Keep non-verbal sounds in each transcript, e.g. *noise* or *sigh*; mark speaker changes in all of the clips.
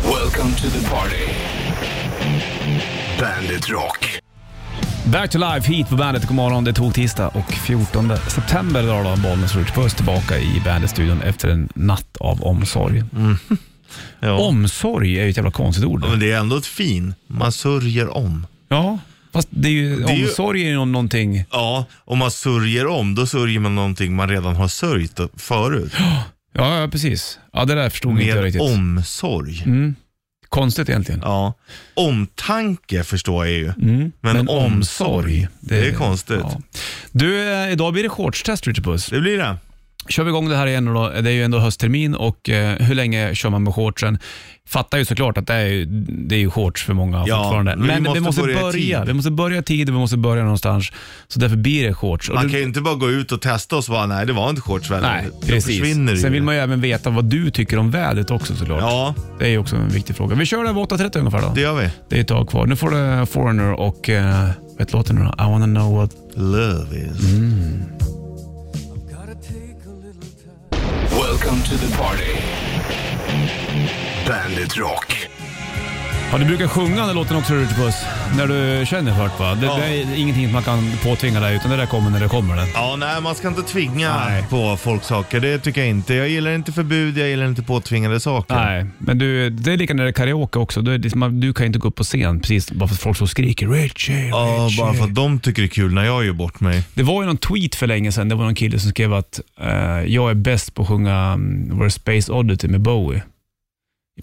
Speaker 1: Welcome to the party. Bandit Rock.
Speaker 2: Back to life hit på bandet. God morgon, det tog tisdag och 14 september drar då Bollnäs Ritchpuss tillbaka i bandetstudion efter en natt av omsorg.
Speaker 3: Mm. Ja.
Speaker 2: Omsorg är ju ett jävla konstigt ord.
Speaker 3: Ja, Men det är ändå ett fin. Man sörjer om.
Speaker 2: Ja, fast det är ju,
Speaker 3: är ju-
Speaker 2: omsorg är ju nå- någonting...
Speaker 3: Ja, om man sörjer om, då sörjer man någonting man redan har sörjt förut.
Speaker 2: Ja, ja precis. Ja, det där förstod inte jag
Speaker 3: Med
Speaker 2: riktigt. Mm.
Speaker 3: omsorg.
Speaker 2: Konstigt egentligen.
Speaker 3: Ja. Omtanke förstår jag ju.
Speaker 2: Mm.
Speaker 3: Men omsorg, det är konstigt.
Speaker 2: Du, eh, idag blir det shortstest Richard Puss.
Speaker 3: Det blir det.
Speaker 2: Kör vi igång det här igen då. Det är ju ändå hösttermin och eh, hur länge kör man med shortsen? Fattar ju såklart att det är ju, det är ju shorts för många
Speaker 3: Ja,
Speaker 2: fortfarande.
Speaker 3: men vi
Speaker 2: Men vi
Speaker 3: måste
Speaker 2: måste
Speaker 3: börja i
Speaker 2: börja.
Speaker 3: tid.
Speaker 2: Vi måste börja tid och vi måste börja någonstans. Så därför blir det shorts. Och
Speaker 3: Man
Speaker 2: du-
Speaker 3: kan ju inte bara gå ut och testa och så bara, nej det var inte shortsväder.
Speaker 2: Nej,
Speaker 3: Då
Speaker 2: precis.
Speaker 3: försvinner det
Speaker 2: Sen
Speaker 3: ju.
Speaker 2: vill man ju även veta vad du tycker om vädret också såklart.
Speaker 3: Ja,
Speaker 2: Det är ju också en viktig fråga. Vi kör det här vid 8.30 ungefär då.
Speaker 3: det gör vi.
Speaker 2: Det är ett tag kvar. Nu får du Foreigner och, eh, vet låten nu då? I wanna know what...
Speaker 3: Love is.
Speaker 2: Mm.
Speaker 1: Welcome to the party. Bandit Rock.
Speaker 2: Ja, du brukar sjunga den här låten också Rutipus, när du känner för det va? Det,
Speaker 3: Ja.
Speaker 2: det är ingenting som man kan påtvinga dig utan det där kommer när det kommer. Det.
Speaker 3: Ja, nej man ska inte tvinga
Speaker 2: Nej.
Speaker 3: på folk saker. Det tycker jag inte. Jag gillar inte förbud, jag gillar inte påtvingade saker.
Speaker 2: Nej, men du, det är lika när det är karaoke också. Du, är liksom, man- du kan ju inte gå upp på scen precis bara för att folk så skriker Richie,
Speaker 3: Ja,
Speaker 2: Richie.
Speaker 3: bara för att de tycker det är kul när jag gör bort mig.
Speaker 2: Det var ju någon tweet för länge sedan. Det var någon kille som skrev att eh, jag är bäst på att sjunga mm, var det Space Oddity med Bowie.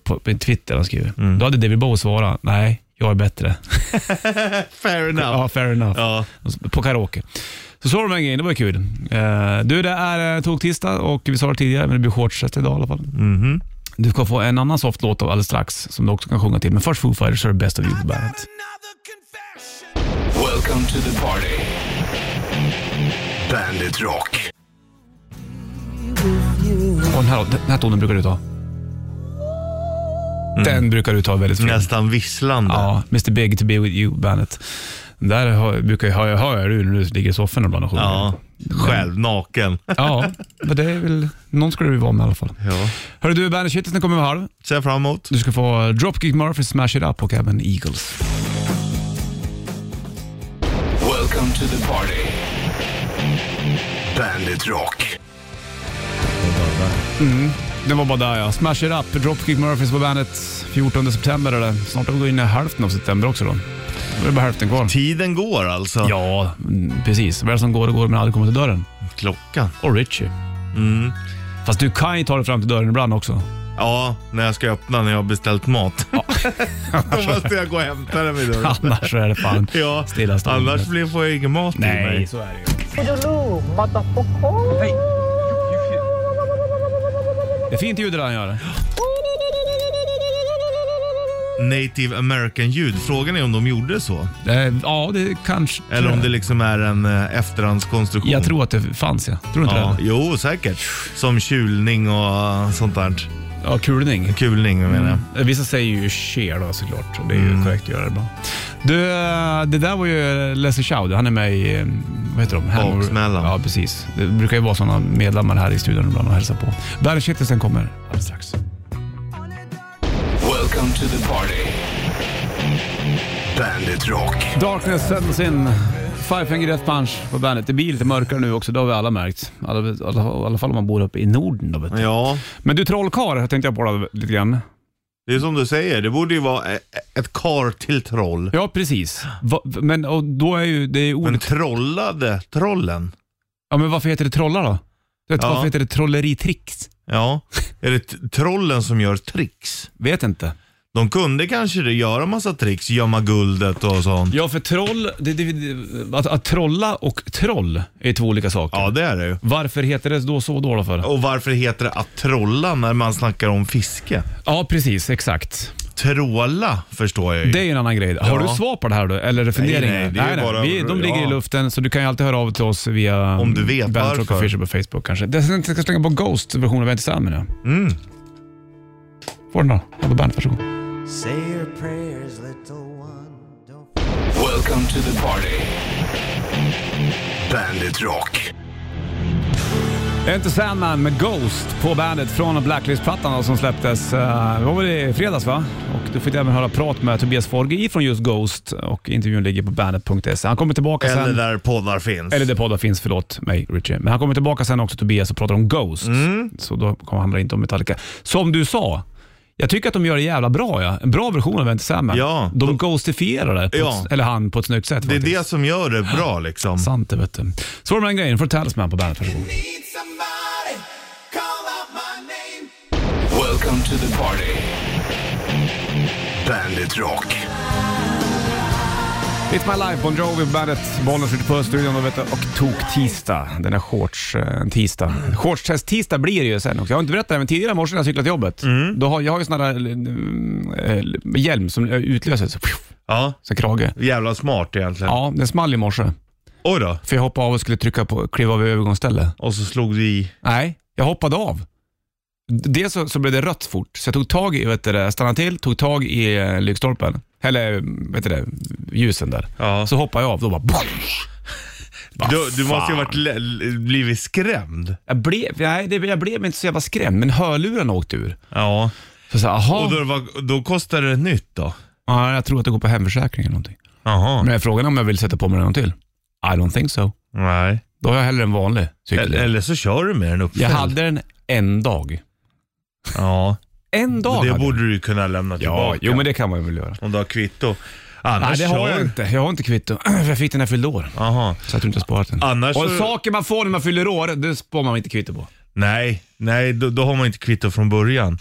Speaker 2: På, på Twitter han skriver.
Speaker 3: Mm.
Speaker 2: Då hade David Bowie svarat, nej, jag är bättre.
Speaker 3: Fair
Speaker 2: *laughs*
Speaker 3: enough.
Speaker 2: Ja, fair enough.
Speaker 3: Ja.
Speaker 2: på karaoke. Så såg de en grej, det var ju kul. Eh, du, det är eh, tog tisdag och vi sa det tidigare, men det blir shortset idag i alla fall.
Speaker 3: Mhm.
Speaker 2: Du ska få en annan soft låt av alldeles strax som du också kan sjunga till. Men först Foo Fighters så är det Best of You på bandet.
Speaker 1: Welcome to the party. Bandit Rock.
Speaker 2: Och den här, den här tonen brukar du ta.
Speaker 3: Mm.
Speaker 2: Den brukar du ta väldigt fint.
Speaker 3: Nästan visslande.
Speaker 2: Ja, Mr Big to be with you bandet. Den Där hör, brukar jag, hör, jag- hör jag du när du ligger i soffan ibland och sjunger.
Speaker 3: Ja. Själv, naken.
Speaker 2: ja, men det är väl, någon skulle du vara med i alla fall.
Speaker 3: Ja.
Speaker 2: Hörru du, bandet Shitlisten kommer vid halv.
Speaker 3: Ser jag fram emot.
Speaker 2: Du ska få Dropkick Murphys Smash It Up och även Eagles.
Speaker 1: Welcome to the party. Bandit Rock.
Speaker 2: Det var bara där ja. Smash It Up, Dropkick Murphys på bandet 14 september eller snart har vi gått in i hälften av september också då. Då är det bara hälften kvar.
Speaker 3: Tiden går alltså.
Speaker 2: Ja, mm, precis. Vad är det som går och går men aldrig kommer till dörren?
Speaker 3: Klockan.
Speaker 2: Och Richie.
Speaker 3: Mm.
Speaker 2: Fast du kan ju ta dig fram till dörren ibland också. *laughs*
Speaker 3: Ja, när jag ska öppna när jag har beställt mat. *laughs* Då måste jag gå och hämta den vid dörren.
Speaker 2: Annars så är det fan
Speaker 3: Ja,
Speaker 2: stilla stående.
Speaker 3: annars blir, får jag ingen mat
Speaker 2: *laughs*
Speaker 3: till
Speaker 2: Nej,
Speaker 3: mig.
Speaker 2: så är det ju. Det är fint ljud det där han gör.
Speaker 3: Native American-ljud. Frågan är om de gjorde så.
Speaker 2: Eh, Ja, det kanske...
Speaker 3: Eller om det liksom är en eh, efterhandskonstruktion.
Speaker 2: Jag tror att det fanns ja. Tror du inte
Speaker 3: Ja,
Speaker 2: det?
Speaker 3: jo, säkert. Som kulning och eh, sånt där.
Speaker 2: Ja, kulning.
Speaker 3: Kulning menar jag.
Speaker 2: Eh, Vissa säger ju cher då såklart. och Det är
Speaker 3: Mm.
Speaker 2: ju korrekt att göra det bra. Du, eh, det där var ju Leslie Chow. Han är med i, eh, vad heter de? Hangover-
Speaker 3: Baksmällan.
Speaker 2: Ja, precis. Det brukar ju vara sådana medlemmar här i studion ibland och hälsa på. Bandet Shitlisten kommer alldeles strax.
Speaker 1: Welcome to the party. Bandit Rock.
Speaker 2: Darkness sänds in. Five Finger Death Punch på bandet. Det blir lite mörkare nu också, det har vi alla märkt. I alla, alla, alla fall om man bor uppe i Norden då, vet du.
Speaker 3: Ja,
Speaker 2: Men du trollkarl tänkte jag på då lite grann.
Speaker 3: det är som du säger. Det borde ju vara e- ett kar till troll.
Speaker 2: Ja, precis. Va, men och då är ju det är ordet...
Speaker 3: Men trollade trollen?
Speaker 2: Ja, men varför heter det trollar då? Vet,
Speaker 3: Ja.
Speaker 2: Varför heter det trolleritricks?
Speaker 3: Ja. Är det t- trollen som gör tricks?
Speaker 2: Vet inte.
Speaker 3: De kunde kanske det, göra massa tricks, gömma guldet och sånt.
Speaker 2: Ja, för troll, det, det, det, att, att trolla och troll är två olika saker.
Speaker 3: Ja, det är det ju.
Speaker 2: Varför heter det då så då? då för?
Speaker 3: Och varför heter det att trolla när man snackar om fiske?
Speaker 2: Ja, precis, exakt.
Speaker 3: Tråla förstår jag ju.
Speaker 2: Det är ju en annan grej. Har
Speaker 3: Ja.
Speaker 2: du svar på det här då? Eller är det funderingar?
Speaker 3: nej, det är bara-
Speaker 2: Vi, de ligger i
Speaker 3: ja.
Speaker 2: luften, så du kan ju alltid höra av till oss via
Speaker 3: Om du vet
Speaker 2: Bandit Rock
Speaker 3: varför.
Speaker 2: Official på Facebook kanske. Dessutom ska jag slänga på Ghost-versionen av Anti Salmon nu.
Speaker 3: Mm.
Speaker 2: Får den då? Ja, på bandet, varsågod.
Speaker 4: Say your prayers, little one. Don't
Speaker 1: Welcome to the party. Bandit Rock.
Speaker 2: Enter Sandman med Ghost på bandet från Blacklist-plattan då som släpptes, eh, vad var det, i fredags va? Och du fick även höra prat med Tobias Forge från just Ghost och intervjun ligger på bandet.se. Han kommer tillbaka
Speaker 3: Eller
Speaker 2: sen.
Speaker 3: där poddar finns.
Speaker 2: Eller där poddar finns, förlåt mig Richie. Men han kommer tillbaka sen också Tobias och pratar om Ghost.
Speaker 3: Mm.
Speaker 2: Så då kommer han inte om Metallica. Som du sa, jag tycker att de gör det jävla bra. Ja. En bra version av Enter Sandman.
Speaker 3: Ja.
Speaker 2: de ghostifierar det, på ett-
Speaker 3: Ja.
Speaker 2: eller han, på ett snyggt sätt.
Speaker 3: det är
Speaker 2: faktiskt.
Speaker 3: det som gör det bra liksom.
Speaker 2: Sant det vet du. Så var det med den grejen. Får Talisman på bandet, varsågod.
Speaker 5: Need somebody, call out my name.
Speaker 1: Welcome to the party. Bandit Rock.
Speaker 2: It's my life, Bon Jovi, bandet. Bollen skjuter på studion och, vet du, och tok tisdag. Den är shorts, eh, en tisdag. Shortstest tisdag blir det ju sen också. Jag har inte berättat det, här, men tidigare i morse när jag cyklade till jobbet. Då har, jag har ju sån här mm, eh, hjälm som utlöses. Så, pff,
Speaker 3: Ja,
Speaker 2: så krage.
Speaker 3: jävla smart egentligen.
Speaker 2: Ja, den small i morse.
Speaker 3: Oj då.
Speaker 2: För jag hoppade av och skulle trycka på, kliva av vid övergångsstället.
Speaker 3: Och så slog du i.
Speaker 2: Nej, jag hoppade av. Dels så, så blev det rött fort, så jag tog tag i, vet du, det, stannade till, tog tag i eh, lyktstolpen, eller vet du, det, ljusen där.
Speaker 3: Ja.
Speaker 2: Så hoppade jag av, då bara...
Speaker 3: *laughs*
Speaker 2: Vad
Speaker 3: Du, du måste
Speaker 2: fan.
Speaker 3: ju varit le- blivit skrämd.
Speaker 2: Jag blev, nej, det, jag blev inte så jävla skrämd, men hörluren åkte ur.
Speaker 3: Ja.
Speaker 2: Så jag sa,
Speaker 3: Och
Speaker 2: jaha,
Speaker 3: då, var, då kostade det nytt då?
Speaker 2: ja, jag tror att det går på hemförsäkring eller någonting.
Speaker 3: Jaha.
Speaker 2: Men jag frågade om jag vill sätta på mig den en gång till. I don't think so.
Speaker 3: Nej.
Speaker 2: Då har jag hellre en vanlig cykel.
Speaker 3: Eller, eller så kör du med den uppfälld.
Speaker 2: jag hade den en dag.
Speaker 3: Ja.
Speaker 2: En dag
Speaker 3: Det
Speaker 2: hade jag.
Speaker 3: borde du ju kunna lämna
Speaker 2: Ja,
Speaker 3: tillbaka.
Speaker 2: jo men det kan man ju väl göra.
Speaker 3: Om du har kvitto. Annars
Speaker 2: Nej, det har
Speaker 3: kör
Speaker 2: jag
Speaker 3: du.
Speaker 2: inte. Jag har inte kvitto. *clears throat* För jag fick den när jag fyllde år.
Speaker 3: Jaha.
Speaker 2: Så jag tror inte jag sparat den.
Speaker 3: Annars
Speaker 2: och
Speaker 3: så-
Speaker 2: saker man får när man fyller år, det spår man inte kvitto på.
Speaker 3: Nej, nej då, då har man inte kvitto från början.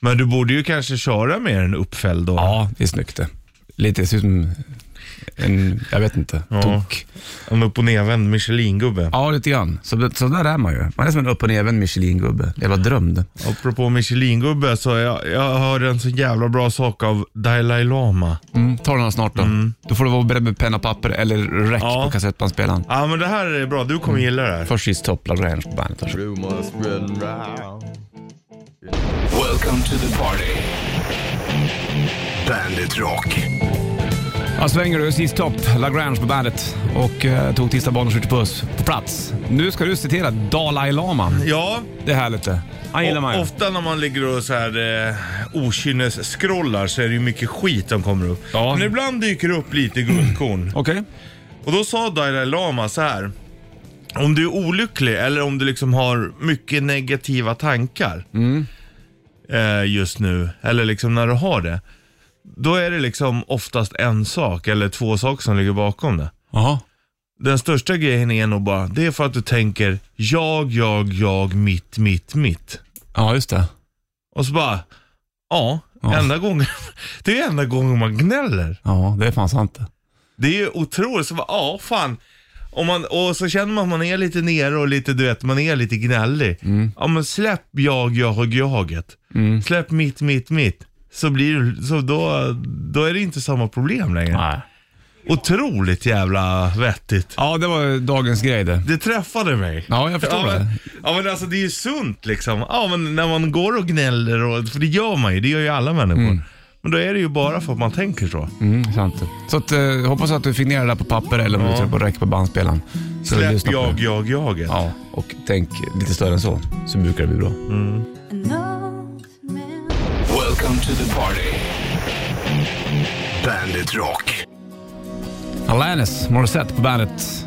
Speaker 3: Men du borde ju kanske köra med den uppfälld då.
Speaker 2: Ja, det är snyggt det. Lite, det ser ut som en, jag vet inte,
Speaker 3: Ja.
Speaker 2: tok.
Speaker 3: En upp och nedvänd Michelin-gubbe.
Speaker 2: Ja, lite grann. Så, så där är man ju. Man är som en upp och nervänd Michelin-gubbe. Jävla drömd.
Speaker 3: Apropå Michelin-gubbe så jag, jag hörde en så jävla bra sak av Dalai Lama.
Speaker 2: Mm, ta den här snart då. Då får du vara beredd med penna och papper eller räck
Speaker 3: Ja.
Speaker 2: på kassettbandspelaren.
Speaker 3: Ja men det här är bra, du kommer gilla det här.
Speaker 2: Först sist Top Love Ranch på bandet. Varsågod.
Speaker 6: rumors spreading round.
Speaker 1: Welcome to the party. Bandit Rock.
Speaker 2: Ja, svänger du. Sist topp, Lagrange på bandet och eh, tog tisdag barn och skjuter puss på plats. Nu ska du citera Dalai Lama.
Speaker 3: Ja,
Speaker 2: Det är härligt det. Han gillar man
Speaker 3: o-
Speaker 2: ju.
Speaker 3: ofta när man ligger och så här eh, okynnes-scrollar så är det ju mycket skit som kommer upp.
Speaker 2: Ja.
Speaker 3: Men ibland dyker det upp lite guldkorn.
Speaker 2: Okej.
Speaker 3: Och då sa Dalai Lama så här. Om du är olycklig eller om du liksom har mycket negativa tankar eh, just nu, eller liksom när du har det. Då är det liksom oftast en sak eller två saker som ligger bakom det.
Speaker 2: Jaha.
Speaker 3: Den största grejen är nog bara, det är för att du tänker jag, jag, jag, mitt, mitt, mitt.
Speaker 2: Ja, just det.
Speaker 3: Och så bara, ja,
Speaker 2: Ja.
Speaker 3: enda gången, *laughs* det är enda gången man gnäller.
Speaker 2: Ja, det är fan sant det.
Speaker 3: Det är ju otroligt. Så bara, ja, fan. Om man, och så känner man att man är lite nere och lite, du vet, man är lite gnällig.
Speaker 2: Mm.
Speaker 3: Ja, men släpp jag, jag, jaget. Släpp mitt, mitt, mitt. Så blir det- så då, då är det inte samma problem längre.
Speaker 2: Nej.
Speaker 3: Otroligt jävla vettigt.
Speaker 2: Ja, det var dagens grej det.
Speaker 3: Det träffade mig.
Speaker 2: Ja, jag förstår
Speaker 3: ja, men,
Speaker 2: det.
Speaker 3: Ja, men alltså det är ju sunt liksom. Ja, men när man går och gnäller, och, för det gör man ju, det gör ju alla människor. Men då är det ju bara för att man tänker så.
Speaker 2: Mm, sant det. Så att, eh, hoppas att du fick ner det där på papper eller om du trycker på räck på bandspelaren. Så du
Speaker 3: Släpp
Speaker 2: lyssnar på
Speaker 3: jag,
Speaker 2: det.
Speaker 3: jag, jaget.
Speaker 2: Ja, och tänk lite större än så, så brukar det bli bra.
Speaker 3: Mm.
Speaker 7: An old man.
Speaker 1: Welcome to the party. Bandit Rock.
Speaker 2: Alanis Morissette på bandet.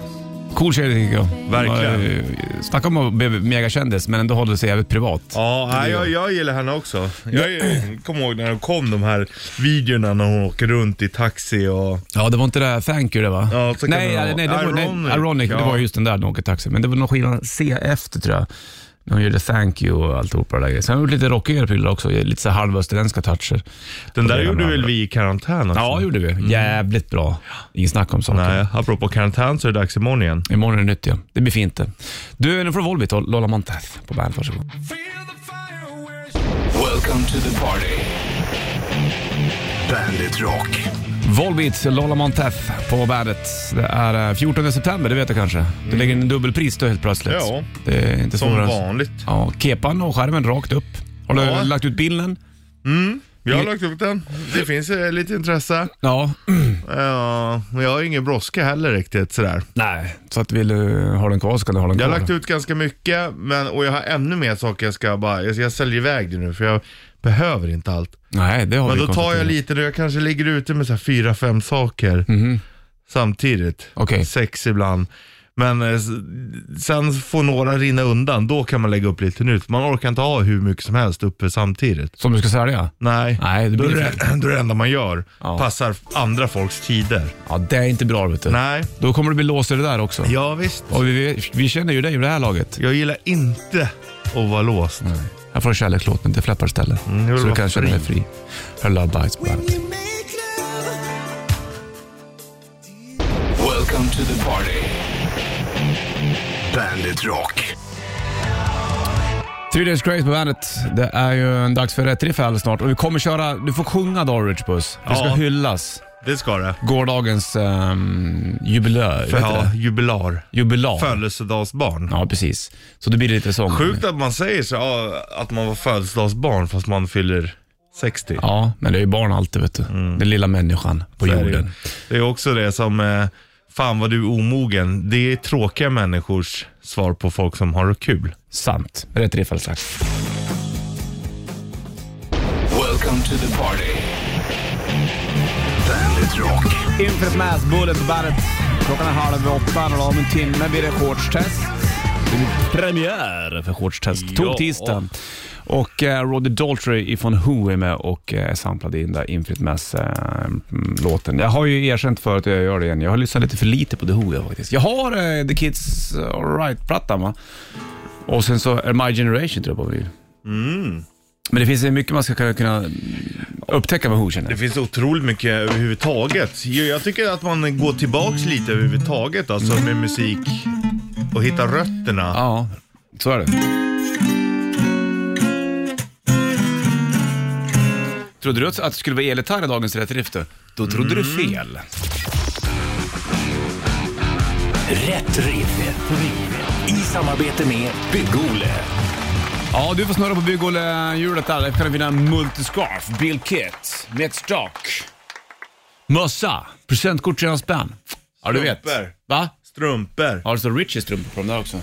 Speaker 2: Cool tjej tycker jag.
Speaker 3: Verkligen.
Speaker 2: Eh, Snacka om att bli megakändis, men ändå håller sig jävligt privat.
Speaker 3: Ja, nej, jag, jag gillar henne också. Jag jag kommer ihåg när det kom de här videorna när hon åker runt i taxi och...
Speaker 2: Ja, det var inte det där Thank you det va?
Speaker 3: Ja, så kan
Speaker 2: nej,
Speaker 3: det vara.
Speaker 2: nej, nej, det var, nej,
Speaker 3: Ironic,
Speaker 2: Ironic, det
Speaker 3: ja.
Speaker 2: var just den där de åker taxi. Men det var någon skiva C efter tror jag. När hon gjorde Thank you och alltihopa det där grejen. Sen har hon gjort lite rockigare prylar också. Lite så här halvösterländska toucher.
Speaker 3: Den där
Speaker 2: det
Speaker 3: gjorde
Speaker 2: med
Speaker 3: väl
Speaker 2: andra.
Speaker 3: vi i karantän också?
Speaker 2: Ja, det gjorde vi. Jävligt bra. Ingen snack om saker.
Speaker 3: Mm. Nej, apropå karantän så är det dags imorgon igen.
Speaker 2: Imorgon är det nytt ja. Det blir fint det. Du, nu får du Volbeat och Lola Montez på bandet. Varsågod.
Speaker 1: Welcome to the party. Bandit Rock.
Speaker 2: Volbeat, Lola Montez på bandet. Det är eh, 14 september, det vet du kanske. Du lägger in en dubbelpris då helt plötsligt.
Speaker 3: Ja,
Speaker 2: det är inte
Speaker 3: Som
Speaker 2: svårare än så.
Speaker 3: vanligt.
Speaker 2: Ja, kepan och skärmen rakt upp. Har du
Speaker 3: Ja.
Speaker 2: lagt ut bilden? Mm.
Speaker 3: Jag har lagt upp den. Det finns eh, lite intresse.
Speaker 2: Ja, *clears throat*
Speaker 3: Ja, men jag har ju ingen brådska heller riktigt sådär.
Speaker 2: Nej, så att vill du ha den kvar så ska du ha den
Speaker 3: Jag
Speaker 2: kvar.
Speaker 3: har lagt ut ganska mycket men, och jag har ännu mer saker jag ska bara, jag, jag säljer iväg det nu för jag behöver inte allt.
Speaker 2: Nej, det har
Speaker 3: Men
Speaker 2: vi
Speaker 3: då tar jag
Speaker 2: konstaterat.
Speaker 3: lite nu, jag kanske ligger ute med så här fyra, fem saker samtidigt.
Speaker 2: Mhm. Okej.
Speaker 3: Sex ibland. Men eh, s- sen får några rinna undan, då kan man lägga upp lite nytt. Man orkar inte ha hur mycket som helst uppe samtidigt.
Speaker 2: Som du ska sälja?
Speaker 3: Nej,
Speaker 2: Nej, det
Speaker 3: då, är
Speaker 2: blir
Speaker 3: det, *laughs* då är det enda man gör.
Speaker 2: Ja.
Speaker 3: Passar andra folks tider.
Speaker 2: Ja, det är inte bra vet du.
Speaker 3: Nej,
Speaker 2: Då kommer du bli låst i det där också.
Speaker 3: ja visst.
Speaker 2: Och vi- vi, vi känner ju dig i det här laget.
Speaker 3: Jag gillar inte att vara låst.
Speaker 2: Här får du kärlekslåten till Flappar ställe.
Speaker 3: jag vill
Speaker 2: så du
Speaker 3: vara
Speaker 2: kan känna dig
Speaker 3: fri.
Speaker 2: fri. Här är Love Bites på
Speaker 5: When
Speaker 2: bandet.
Speaker 5: you make love,
Speaker 1: Welcome to the party. Bandit Rock.
Speaker 2: Three Days Grace på bandet. Det är ju en dags för rätt riff här alldeles snart. Och vi kommer köra, du får sjunga då Rich Puss. Det ska
Speaker 3: Ja.
Speaker 2: hyllas.
Speaker 3: Det ska det.
Speaker 2: Gårdagens um, jubilar.
Speaker 3: För ja, jubilar.
Speaker 2: Jubilar.
Speaker 3: Födelsedagsbarn.
Speaker 2: Ja, precis. Så det blir lite sång.
Speaker 3: Sjukt att man säger så, ja, att man var födelsedagsbarn fast man fyller 60.
Speaker 2: Ja, men det är ju barn alltid vet du. Den lilla människan på
Speaker 3: Mm. Så är det ju.
Speaker 2: jorden.
Speaker 3: Det är också det som, eh, fan vad du är omogen. Det är tråkiga människors svar på folk som har kul.
Speaker 2: Sant. Rätt riff alldeles strax.
Speaker 1: Welcome to the party. Bandit Rock.
Speaker 2: Infant Mass Bullet på bandet. Klockan är halv åtta och om en timme blir det shortstest. Det blir premiär för shortstest.
Speaker 3: Ja.
Speaker 2: Tog tisdag. Och eh, Roddy Daltrey ifrån Who är med och eh, samplade in där Infant Mass-låten. eh, mm, jag har ju erkänt förut att jag gör det igen. Jag har lyssnat lite för lite på The Who jag faktiskt. Jag har eh, The Kids Alright-plattan va. Och sen så är My Generation tror jag på vinyl. Men det finns eh, mycket man ska kunna- kunna upptäcka med Who känner
Speaker 3: Det
Speaker 2: jag.
Speaker 3: finns otroligt mycket överhuvudtaget. Jag jag tycker att man går tillbaks lite överhuvudtaget alltså med musik och hittar rötterna.
Speaker 2: Ja, så är det. Trodde du att att det skulle vara elgitarr i dagens Rätt Riff då? Då trodde
Speaker 8: Mm.
Speaker 2: du fel.
Speaker 8: Rätt riff. I samarbete med Bygg-Ole.
Speaker 2: Ja, du får snurra på bygghjulet där. Där kan du vinna multiscarf, bilkit, metstock, mössa, presentkort 300 spänn. Ja, du vet.
Speaker 3: Strumpor.
Speaker 2: Va?
Speaker 3: Strumpor.
Speaker 2: Ja, det står Richies strumpor på dem där också.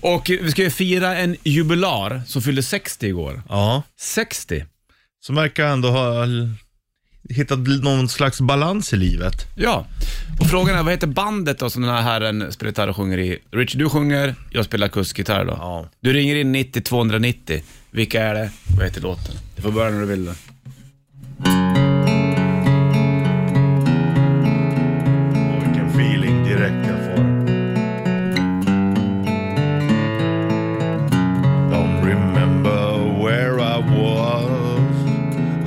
Speaker 2: Och vi ska ju fira en jubilar som fyllde 60 igår.
Speaker 3: Ja.
Speaker 2: 60?
Speaker 3: Som verkar ändå ha l- hittat l- någon slags balans i livet.
Speaker 2: Ja, och frågan är vad heter bandet då som den här herren spelar gitarr och sjunger i? Rich, du sjunger, jag spelar kuskgitarr då.
Speaker 3: Ja.
Speaker 2: Du ringer in 90 290. Vilka är det? Vad heter låten? Du får börja när du vill då.
Speaker 3: Och vilken feeling direkt jag får. Don't remember where I was.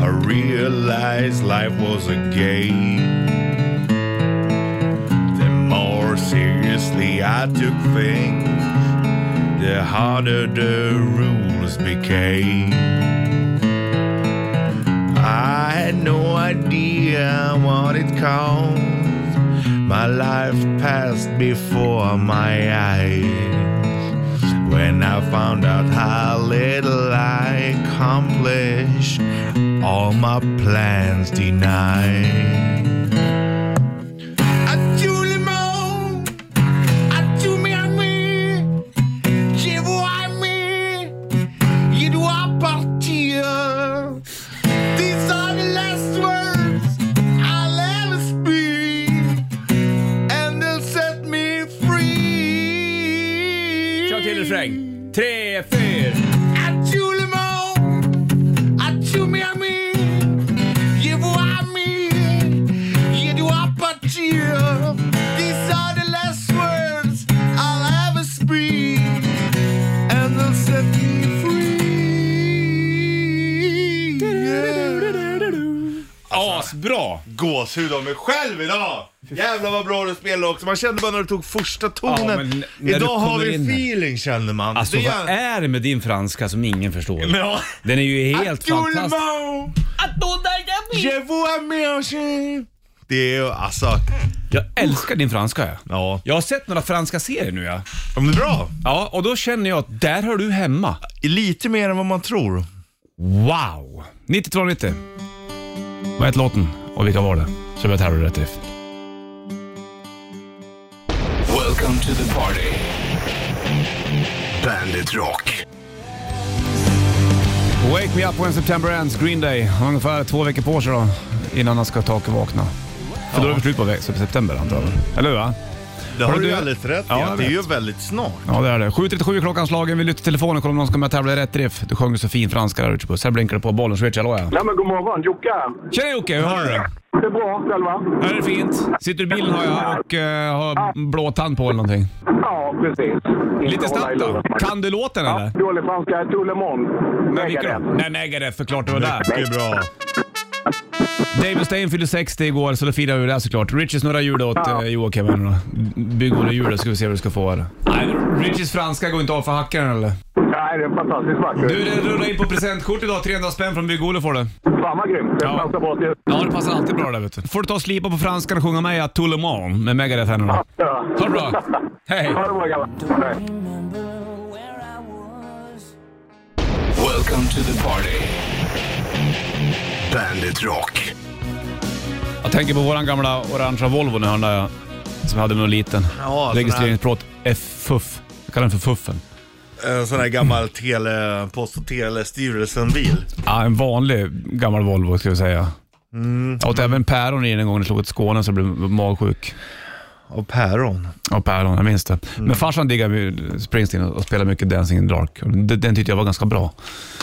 Speaker 3: I realized life was a game. The more seriously I took things, the harder the rules became. I had no idea what it caused. My life passed before my eyes. When I found out how little I accomplished, all my plans denied. I truly moan, I do me a me, llevo a me, y do a partir. These are the last words I'll ever speak, and they'll set me free.
Speaker 2: Kör till refräng. Tre, fyra. Asbra!
Speaker 3: Gåshud av mig själv idag! Jävlar vad bra du spelade också. Man kände bara när du tog första
Speaker 2: Ja,
Speaker 3: tonen.
Speaker 2: men n- när du
Speaker 3: idag har vi
Speaker 2: kommer in här.
Speaker 3: feeling känner man.
Speaker 2: Alltså
Speaker 3: Det
Speaker 2: vad är det med din franska som ingen förstår?
Speaker 3: Men ja.
Speaker 2: Den är ju helt fantastisk.
Speaker 3: Je vous remercie. Det är ju alltså,
Speaker 2: Jag älskar din franska jag.
Speaker 3: ja.
Speaker 2: Jag har sett några franska serier nu ja.
Speaker 3: Ja, Men bra.
Speaker 2: Ja, och då känner jag att där hör du hemma.
Speaker 3: Lite mer än vad man tror.
Speaker 2: Wow! 9290. Vad heter låten? Och vilka var det? Som jag terror rätt drift.
Speaker 1: Welcome to the party. Bandit Rock.
Speaker 2: Wake Me Up When September Ends, Green Day. Han har ungefär två veckor på sig då, innan han ska ta och vakna. För då är det slut på ve- september antar jag. Eller hur? Va?
Speaker 3: Det har
Speaker 2: Hörru,
Speaker 3: du ju
Speaker 2: du-
Speaker 3: alldeles rätt i.
Speaker 2: Ja, jag
Speaker 3: att det är
Speaker 2: vet.
Speaker 3: ju väldigt snart.
Speaker 2: Ja, det är det. 7.37 är klockan slagen. Vi lyfter telefonen och kollar om någon ska med och tävla i rätt riff. Du sjöng ju så fin franska där ute på. Här blinkar det på bollen. Schweiz, hallå ja.
Speaker 9: Nej men god morgon, Jocke här.
Speaker 2: Tjena Jocke, hur har du det?
Speaker 9: Det är bra, själva?
Speaker 2: Här är det fint. Sitter i bilen har jag och eh, har blå tand på eller någonting.
Speaker 9: Ja, precis.
Speaker 2: Lite snabbt då. Kan du låten eller?
Speaker 9: Dålig franska, tout le monde.
Speaker 2: Men vilka då? Nej, Megadeth förklart det var där.
Speaker 3: Det är bra.
Speaker 2: David Stein fyllde 60 igår så då firar vi det såklart. Richie snurrar hjulet åt eh, Joakim här nu då. Bygg under hjulet ska vi se vad du ska få här. Nej, Richies franska går inte av för hackaren eller?
Speaker 9: Nej, det är fantastiskt vackert.
Speaker 2: Du, det rullar in på presentkort idag. 300 spänn från Bygg-Ole får du.
Speaker 9: Fan vad grymt. Det
Speaker 2: Ja.
Speaker 9: passar bra till...
Speaker 2: Ja, det passar alltid bra det där vet du. får du ta och slipa på franskan och sjunga med i Tulleman med Megadeth här nu då.
Speaker 9: Ja.
Speaker 2: Ha det bra. Hej.
Speaker 9: Ha det bra grabbar. Hej.
Speaker 1: Welcome to the party. Bandit Rock.
Speaker 2: Jag tänker på våran gamla orangea Volvo nu, han där ja, som jag hade när jag var liten.
Speaker 3: Ja,
Speaker 2: Registreringsplåt F-fuff. Jag kallar den för Fuffen.
Speaker 3: En sån här gammal tele, Post och telestyrelsen-bil.
Speaker 2: Ja, en vanlig gammal Volvo ska vi säga.
Speaker 3: Mm.
Speaker 2: Jag åt även päron i den en gång när jag slog åt Skåne så jag blev magsjuk.
Speaker 3: Och päron.
Speaker 2: Ja, päron. Jag minns det.
Speaker 3: Mm.
Speaker 2: Men farsan diggade ju Springsteen och spelade mycket Dancing in the Dark. Och Den, den tyckte jag var ganska bra.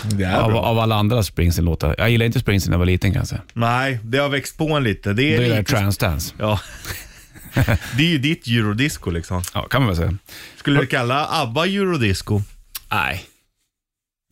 Speaker 3: Det är
Speaker 2: Av,
Speaker 3: bra.
Speaker 2: av alla andra Springsteen-låtar. Jag gillade inte Springsteen när jag var liten kan jag säga.
Speaker 3: Nej, det har växt på en lite. Det
Speaker 2: Då
Speaker 3: är,
Speaker 2: gillade jag
Speaker 3: lite...
Speaker 2: Transdance.
Speaker 3: Ja. *laughs* det är ju ditt eurodisco liksom.
Speaker 2: Ja, kan man väl säga.
Speaker 3: Skulle du kalla ABBA eurodisco?
Speaker 2: Nej.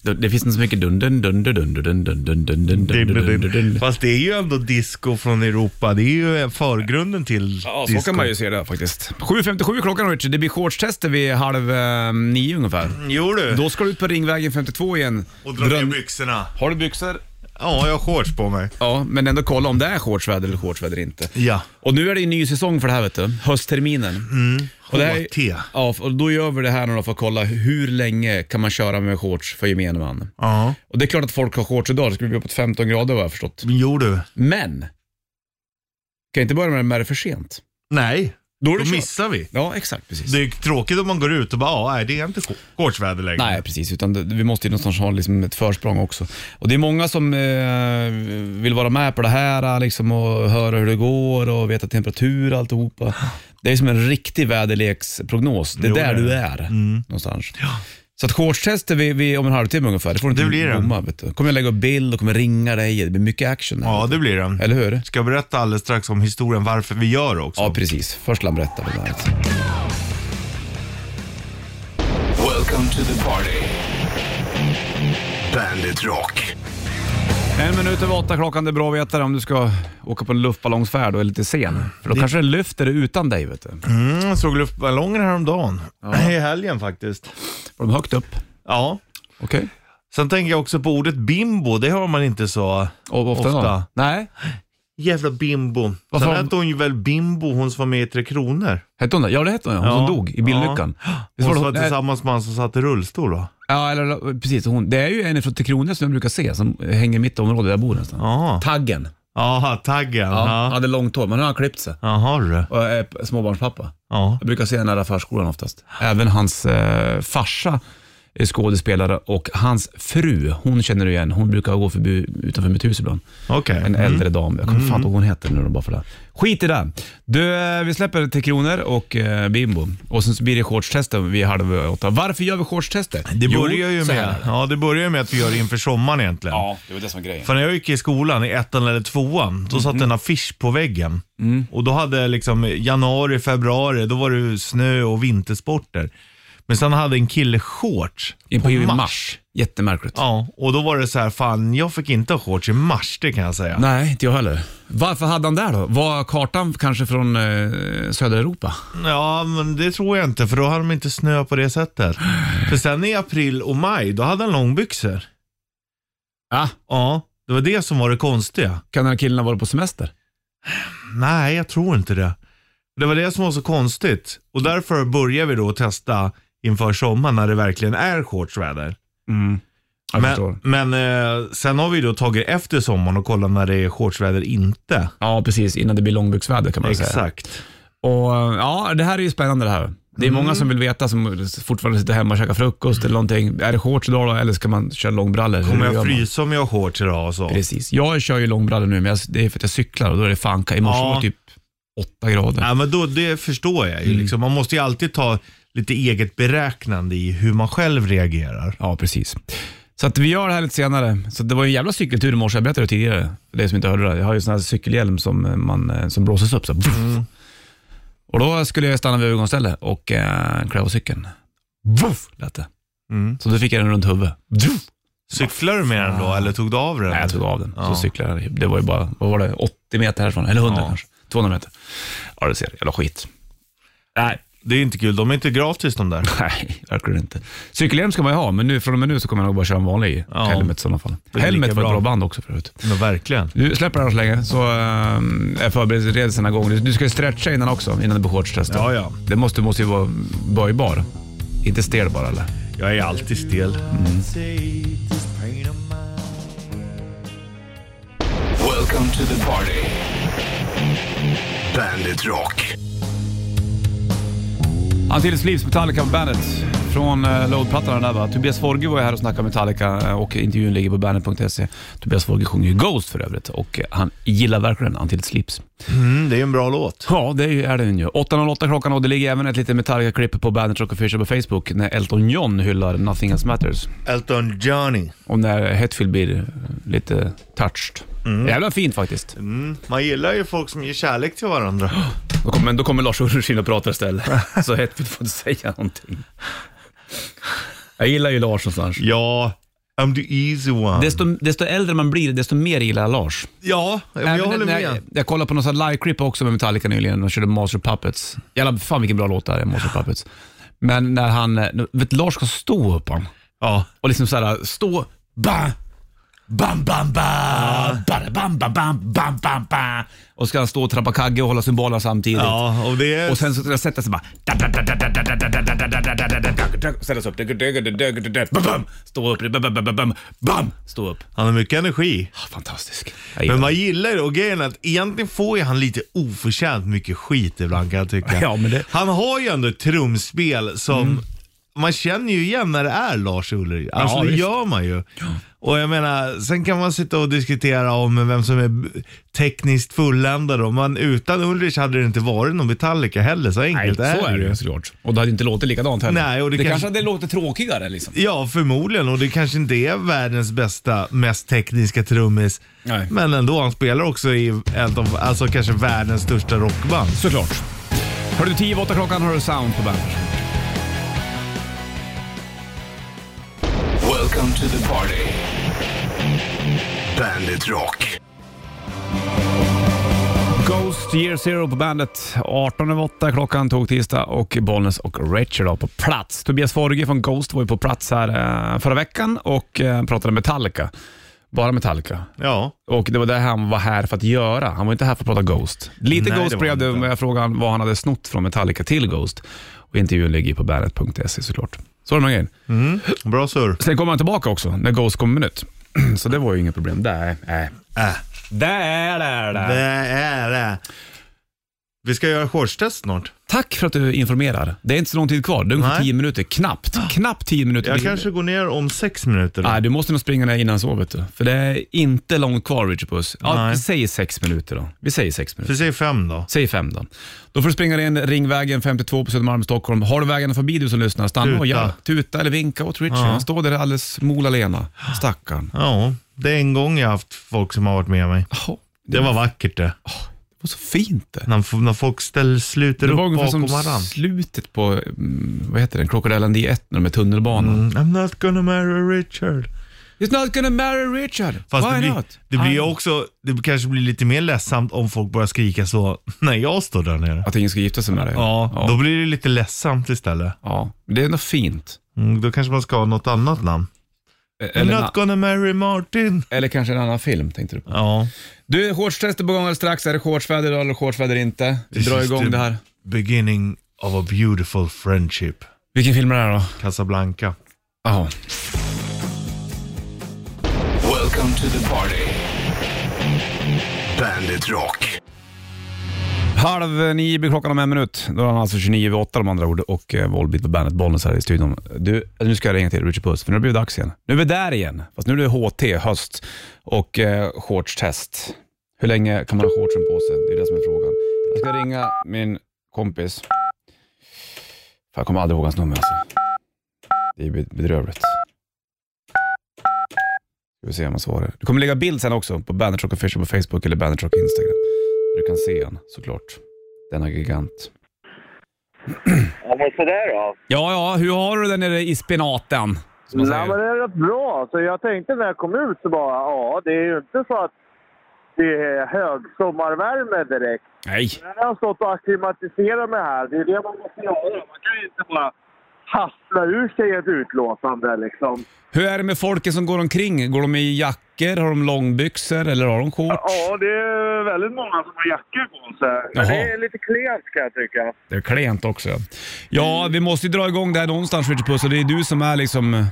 Speaker 2: Det, det finns inte så mycket dun dun dun dun dun dun dun dun dun dun dun dun dun dun
Speaker 3: Fast det är ju ändå disco från Europa. Det är ju förgrunden till
Speaker 2: Ja, så
Speaker 3: disco.
Speaker 2: kan man ju se det faktiskt. 7.57 klockan Richard. Det blir shortstester vid halv eh, nio ungefär.
Speaker 3: Jo du,
Speaker 2: Då ska du ut på Ringvägen 52 igen.
Speaker 3: och dra ner
Speaker 2: Dröm-
Speaker 3: byxorna.
Speaker 2: Har du byxor?
Speaker 3: Ja, jag har shorts på mig.
Speaker 2: Ja, men ändå kolla om det är shortsväder eller shortsväder inte.
Speaker 3: Ja.
Speaker 2: Och nu är det ju ny säsong för det här vet du. Höstterminen.
Speaker 3: Mm,
Speaker 2: Och det här,
Speaker 3: HT.
Speaker 2: ja, och då gör vi det här nu då för att kolla hur länge kan man köra med shorts för gemene man.
Speaker 3: Ja.
Speaker 2: Och det är klart att folk har shorts idag. Det skulle bli uppåt 15 grader vad jag har förstått.
Speaker 3: Jo du.
Speaker 2: Men, kan jag inte börja med det när det är för sent?
Speaker 3: Nej,
Speaker 2: Då är
Speaker 3: då
Speaker 2: det kört.
Speaker 3: missar vi.
Speaker 2: Ja, exakt precis.
Speaker 3: Det är tråkigt om man går ut och bara, ja, nej, det är inte sh- shortsväder längre.
Speaker 2: Nej, precis. Utan det, vi måste ju någonstans ha liksom ett försprång också. Och det är många som eh, vill vara med på det här liksom, och höra hur det går och veta temperatur och alltihopa. Det är som en riktig väderleksprognos. Det Mm. är
Speaker 3: Jo,
Speaker 2: där
Speaker 3: det är
Speaker 2: du
Speaker 3: det.
Speaker 2: är någonstans. Så att shortstester vi, vi om en halvtimme ungefär. Det får du
Speaker 3: Det
Speaker 2: inte
Speaker 3: blir det.
Speaker 2: glömma. vet du. Kommer jag lägga upp bild och kommer ringa dig. Det blir mycket action. här,
Speaker 3: Ja,
Speaker 2: vet
Speaker 3: det blir det.
Speaker 2: du. Eller hur?
Speaker 3: Ska jag berätta alldeles strax om historien varför vi gör också?
Speaker 2: Ja, precis. Först vill han berätta. vad det alltså. är.
Speaker 1: Welcome to the party. Bandit Rock.
Speaker 2: En minut över åtta klockan, det är bra att veta det om du ska åka på en luftballongsfärd och är lite sen. För då kanske det lyfter utan dig. Vet du.
Speaker 3: Mm, jag såg luftballonger häromdagen. *laughs* I helgen faktiskt.
Speaker 2: Var de högt upp?
Speaker 3: Ja.
Speaker 2: Okej.
Speaker 3: Sen tänker jag också på ordet bimbo. Det hör man inte så
Speaker 2: Och ofta?
Speaker 3: ofta.
Speaker 2: Nej.
Speaker 3: Jävla bimbo.
Speaker 2: Varför har-
Speaker 3: Sen hette hon ju väl bimbo, hon som var med i Tre Kronor.
Speaker 2: Hette hon det? Ja, det hette hon ja. Hon
Speaker 3: Ja.
Speaker 2: som dog i bilolyckan. Visst
Speaker 3: Hon
Speaker 2: var det
Speaker 3: som var
Speaker 2: nej,
Speaker 3: tillsammans med han som satt i rullstol va?
Speaker 2: Ja, eller, eller, precis. Hon, det är ju en från Tre Kronor som jag brukar se, som hänger i mitt område där jag bor nästan.
Speaker 3: Jaha.
Speaker 2: Taggen.
Speaker 3: Jaha, taggen.
Speaker 2: Ja. Han
Speaker 3: Ja.
Speaker 2: hade långt hår, men nu har han klippt sig.
Speaker 3: Jaha du.
Speaker 2: Och är p- småbarnspappa.
Speaker 3: Ja.
Speaker 2: Jag brukar se henne nära förskolan oftast. Även hans eh, farsa är skådespelare och hans fru, hon känner du igen. Hon brukar gå förbi utanför mitt hus ibland.
Speaker 3: Okej.
Speaker 2: En äldre dam. Jag kommer
Speaker 3: Mm.
Speaker 2: fan inte ihåg vad hon heter nu då, bara för det. här. Skit i det. Du, eh, vi släpper Tre Kronor och eh, Bimbo. Och sen så blir det shortstester vid halv åtta. Varför gör vi shortstester?
Speaker 3: Det börjar ju
Speaker 2: så här.
Speaker 3: med, ja, det börjar ju med att vi gör det inför sommaren egentligen.
Speaker 2: Ja, det var det som var grejen.
Speaker 3: För när jag gick i skolan i ettan eller tvåan, då
Speaker 2: Mm.
Speaker 3: satt en affisch på väggen. Och då hade liksom januari, februari, då var det ju snö och vintersporter. Men sen hade en kille shorts
Speaker 2: In på,
Speaker 3: på
Speaker 2: i
Speaker 3: mars.
Speaker 2: mars. Jättemärkligt.
Speaker 3: Ja, och då var det så här, fan jag fick inte ha shorts i mars, det kan jag säga.
Speaker 2: Nej, inte jag heller. Varför hade han där då? Var kartan kanske från eh, södra Europa?
Speaker 3: Ja, men det tror jag inte, för då hade de inte snö på det sättet. För sen i april och maj, då hade han långbyxor.
Speaker 2: Ja.
Speaker 3: Ja, det var det som var det konstiga.
Speaker 2: Kan den här killen ha varit på semester?
Speaker 3: Nej, jag tror inte det. Det var det som var så konstigt. Och därför börjar vi då testa inför sommaren när det verkligen är shortsväder.
Speaker 2: Jag
Speaker 3: Men,
Speaker 2: förstår.
Speaker 3: men eh, sen har vi då tagit efter sommaren och kollat när det är shortsväder inte.
Speaker 2: Ja, precis. Innan det blir långbyxväder kan man säga.
Speaker 3: Exakt.
Speaker 2: Och ja, det här är ju spännande det här. Det är
Speaker 3: Mm.
Speaker 2: många som vill veta, som fortfarande sitter hemma och käkar frukost eller någonting. Är det shorts idag då, eller ska man köra långbrallor?
Speaker 3: Kommer
Speaker 2: Hur gör
Speaker 3: jag
Speaker 2: man?
Speaker 3: frysa om jag har shorts idag och så?
Speaker 2: Precis. Jag kör ju långbrallor nu, men jag, det är för att jag cyklar och då är det fan I morse
Speaker 3: Ja.
Speaker 2: var det typ 8 grader.
Speaker 3: Ja, men då, det förstår jag ju.
Speaker 2: Mm.
Speaker 3: Liksom, man måste ju alltid ta lite eget beräknande i hur man själv reagerar.
Speaker 2: Ja, precis. Så att vi gör det här lite senare. Så det var ju en jävla cykeltur i morse, jag berättade det tidigare. För dig som inte hörde det. Jag har ju sån här cykelhjälm som, eh, man, eh, som blåses upp. Så. här.
Speaker 3: Mm.
Speaker 2: Och då skulle jag stanna vid övergångsstället och eh, klä av cykeln. Vuff, lät det.
Speaker 3: Mm.
Speaker 2: Så då fick jag den runt huvudet. Vuff.
Speaker 3: Cyklar du med den då eller tog du av den?
Speaker 2: Nej, jag tog av den.
Speaker 3: Ja.
Speaker 2: Så cyklade jag. Det var ju bara, vad var det, 80 meter härifrån? Eller 100
Speaker 3: Ja.
Speaker 2: kanske? 200 meter. Ja, du ser. Jävla skit. *laughs*
Speaker 3: Nej, det är inte kul. De är inte gratis
Speaker 2: *laughs*
Speaker 3: de där.
Speaker 2: Nej, verkligen inte. Cykelhjälm ska man ju ha, men nu, från och med nu så kommer jag nog bara köra en vanlig
Speaker 3: Ja.
Speaker 2: helmet i sådana fall.
Speaker 3: är
Speaker 2: Helmet
Speaker 3: lika
Speaker 2: var ett
Speaker 3: bra.
Speaker 2: bra band också förut.
Speaker 3: Men verkligen.
Speaker 2: Du släpper det här så länge så ehm, är förberedelserna igång. Du, du ska ju stretcha innan också, innan du blir shortstest. då.
Speaker 3: Ja, ja.
Speaker 2: Det måste, måste ju vara böjbar. Inte stel bara eller?
Speaker 3: Jag är alltid stel.
Speaker 1: Welcome to the party. Bandit Rock.
Speaker 2: Antilles Leaves, Metallica på bandet. Från uh, Load-plattan där va. Tobias Forge var ju här och snackade om Metallica eh, och intervjun ligger på bandet.se. Tobias Forge sjunger ju Ghost för övrligt och eh, han gillar verkligen Antilles Leaves.
Speaker 3: Mm, det är en bra låt.
Speaker 2: Ja, det är ju- är den ju. 8.08 klockan och det ligger även ett litet Metallica-klipp på Bandet Rock Official på Facebook när Elton John hyllar Nothing Else Matters.
Speaker 3: Elton Johnny.
Speaker 2: Och när Hetfield blir eh, lite touched. Jävla fint faktiskt.
Speaker 3: Mm. Man gillar ju folk som ger kärlek till varandra.
Speaker 2: Då kommer, då kommer Lars Ulrich in och pratar
Speaker 3: *laughs*
Speaker 2: istället. Så Hetfield får inte säga någonting. Jag gillar ju Lars någonstans.
Speaker 3: Ja, I'm the easy one.
Speaker 2: Desto, desto äldre man blir, desto mer gillar jag Lars.
Speaker 3: Ja, men jag
Speaker 2: Även
Speaker 3: håller
Speaker 2: när
Speaker 3: med.
Speaker 2: Jag, jag kollade på någon sån här live-clip också med Metallica nyligen. De körde Master of Puppets. Jävlar, fan vilken bra låt det här är,
Speaker 3: *laughs*
Speaker 2: Master of Puppets. Men när han, eh, vet du, Lars ska stå upp han.
Speaker 3: Ja.
Speaker 2: Och liksom såhär, stå, ba, bam, bam, ba, ba, bam, bam, bam, bam, bam, bam. Och ska han stå och trappa kagge och hålla cymbalerna samtidigt.
Speaker 3: ja, och det är...
Speaker 2: Och sen så ska han sätta sig bara... Sätta sig upp. Bam! Stå upp. Bam! Bam! Stå upp.
Speaker 3: Han har mycket energi.
Speaker 2: Fantastisk.
Speaker 3: Ah, Men man gillar ju det och grejen är att egentligen får ju han lite oförtjänt mycket skit ibland kan jag tycka.
Speaker 2: Ja, men det- Mm.
Speaker 3: Han har ju ändå ett trumspel som man känner ju igen när det är Lars Ulrich. Alltså
Speaker 2: Ja,
Speaker 3: det
Speaker 2: visst.
Speaker 3: gör man ju. Och jag menar, sen kan man sitta och diskutera om vem som är b- tekniskt fulländad då. Men utan Ulrich hade det inte varit någon Metallica heller, så
Speaker 2: Nej,
Speaker 3: enkelt
Speaker 2: så är det ju såklart. Och det hade inte låtit likadant heller.
Speaker 3: Nej, och det
Speaker 2: det
Speaker 3: kanske-
Speaker 2: kanske hade låtit tråkigare liksom.
Speaker 3: Ja, förmodligen. Och det kanske inte är världens bästa, mest tekniska trummis.
Speaker 2: Nej.
Speaker 3: Men ändå, han spelar också i ett av, alltså kanske världens största rockband.
Speaker 2: Såklart. Hör du 10 8 klockan har du sound på bandet.
Speaker 1: Welcome to the party. Bandit Rock.
Speaker 2: Ghost Year Zero på bandet. 18 över 8 klockan tog tisdag och Bollnäs och Rachel var på plats. Tobias Forge från Ghost var ju på plats här eh, förra veckan och eh, pratade Metallica. Bara Metallica.
Speaker 3: Ja.
Speaker 2: Och det var det han var här för att göra. Han var inte här för att prata Ghost. Lite
Speaker 3: Nej, det
Speaker 2: Ghost
Speaker 3: var
Speaker 2: blev
Speaker 3: han
Speaker 2: det,
Speaker 3: inte.
Speaker 2: men jag frågade han vad han hade snott från Metallica till Ghost. Och intervjun ligger ju på bandet.se E såklart. Så var det med grejen.
Speaker 3: Bra surr.
Speaker 2: Sen kom han tillbaka också, när Ghost kom ut. *clears throat* Så det var ju inget problem. Där, äh.
Speaker 3: Äh.
Speaker 2: Där, där,
Speaker 3: Det
Speaker 2: där.
Speaker 3: är det. Vi ska göra shortstest snart.
Speaker 2: Tack för att du informerar. Det är inte så lång tid kvar. Det är ungefär
Speaker 3: Nej. Ah.
Speaker 2: 10 minuter. Knappt. Knappt 10 minuter.
Speaker 3: Jag
Speaker 2: till.
Speaker 3: kanske går ner om sex minuter. då.
Speaker 2: Nej, du måste nog springa ner innan så, vet du. För det är inte långt kvar, Richard Puss. Ja,
Speaker 3: Nej.
Speaker 2: vi säger sex minuter då. Vi säger sex minuter.
Speaker 3: Vi säger fem då.
Speaker 2: Säg fem då. Då får du springa in Ringvägen 52 på Södermalm i Stockholm. Har du vägarna förbi du som lyssnar, stanna och
Speaker 3: Tuta.
Speaker 2: gör. Tuta eller vinka åt Richard. Han står där alldeles molalena. Stackarn.
Speaker 3: Ja, det är en gång jag haft folk som har varit med mig.
Speaker 2: Jaha,
Speaker 3: Det var vackert det.
Speaker 2: det var så fint det.
Speaker 3: När, f- när folk ställer, sluter
Speaker 2: Det var
Speaker 3: upp
Speaker 2: ungefär
Speaker 3: bakom
Speaker 2: som
Speaker 3: varandra.
Speaker 2: slutet på, mm, vad heter den, Crocodile Dundee 1 när de är i tunnelbanan.
Speaker 3: Mm, I'm not gonna marry Richard.
Speaker 2: It's not gonna marry Richard.
Speaker 3: Fast
Speaker 2: Why
Speaker 3: det blir,
Speaker 2: not?
Speaker 3: det blir ju
Speaker 2: Ah.
Speaker 3: också, det kanske blir lite mer ledsamt om folk börjar skrika så *laughs* när jag står där nere.
Speaker 2: Att ingen ska gifta sig med dig?
Speaker 3: Ja, då
Speaker 2: Ja.
Speaker 3: blir det lite ledsamt istället.
Speaker 2: ja. Men Det är ändå fint.
Speaker 3: Mm, då kanske man ska ha något annat namn.
Speaker 2: E-
Speaker 3: I'm
Speaker 2: Eller, en
Speaker 3: not gonna marry Martin.
Speaker 2: a- eller kanske en annan film, tänkte du på.
Speaker 3: Ja.
Speaker 2: Du, shortstest är på gång alldeles strax. Är det shortsväder idag eller shortsväder inte? Vi
Speaker 3: This
Speaker 2: drar
Speaker 3: is the
Speaker 2: igång det här.
Speaker 3: Beginning of a beautiful friendship.
Speaker 2: Vilken film är det här då?
Speaker 3: Casablanca.
Speaker 2: Jaha.
Speaker 1: Welcome to the party. Bandit Rock.
Speaker 2: Halv nio blir klockan om en minut. Då är han alltså 29 över åtta om andra ord och eh, Volbeat på bandet Bollnäs här i studion. Du, nu ska jag ringa till Richard Puss för nu blir det dags igen. Nu är vi där igen, fast nu är det HT, höst och eh, shortstest. Hur länge kan man ha shortsen på sig? Det är det som är frågan. Jag ska ringa min kompis. Fan, jag kommer aldrig ihåg hans nummer alltså. Det är be- bedrövligt. Ska vi se om han svarar. Du kommer lägga bild sen också på Bandit Rock Official på Facebook eller Bandit Rock Instagram. Du kan se han såklart. Denna gigant.
Speaker 10: Ja, men sådär då.
Speaker 2: Ja, ja, hur har du den nere i spenaten? Som man
Speaker 10: Nej, men
Speaker 2: säger.
Speaker 10: det är rätt bra. Så jag tänkte när jag kom ut så bara, ja, det är ju inte så att det är högsommarvärme direkt.
Speaker 2: Nej,
Speaker 10: Men jag har stått och akklimatiserat mig här. Det är det man måste göra. Man kan ju inte bara hassla ur sig ett utlåtande liksom.
Speaker 2: hur är det med folket som går omkring? Går de i jackor, har de långbyxor eller har de shorts?
Speaker 10: Ja, det är väldigt många som har jackor på sig.
Speaker 2: Jaha.
Speaker 10: Men det är lite klent kan jag tycka.
Speaker 2: Det är klent också. Ja, vi måste ju dra igång det här någonstans Richard Puss och det är du som är liksom mm,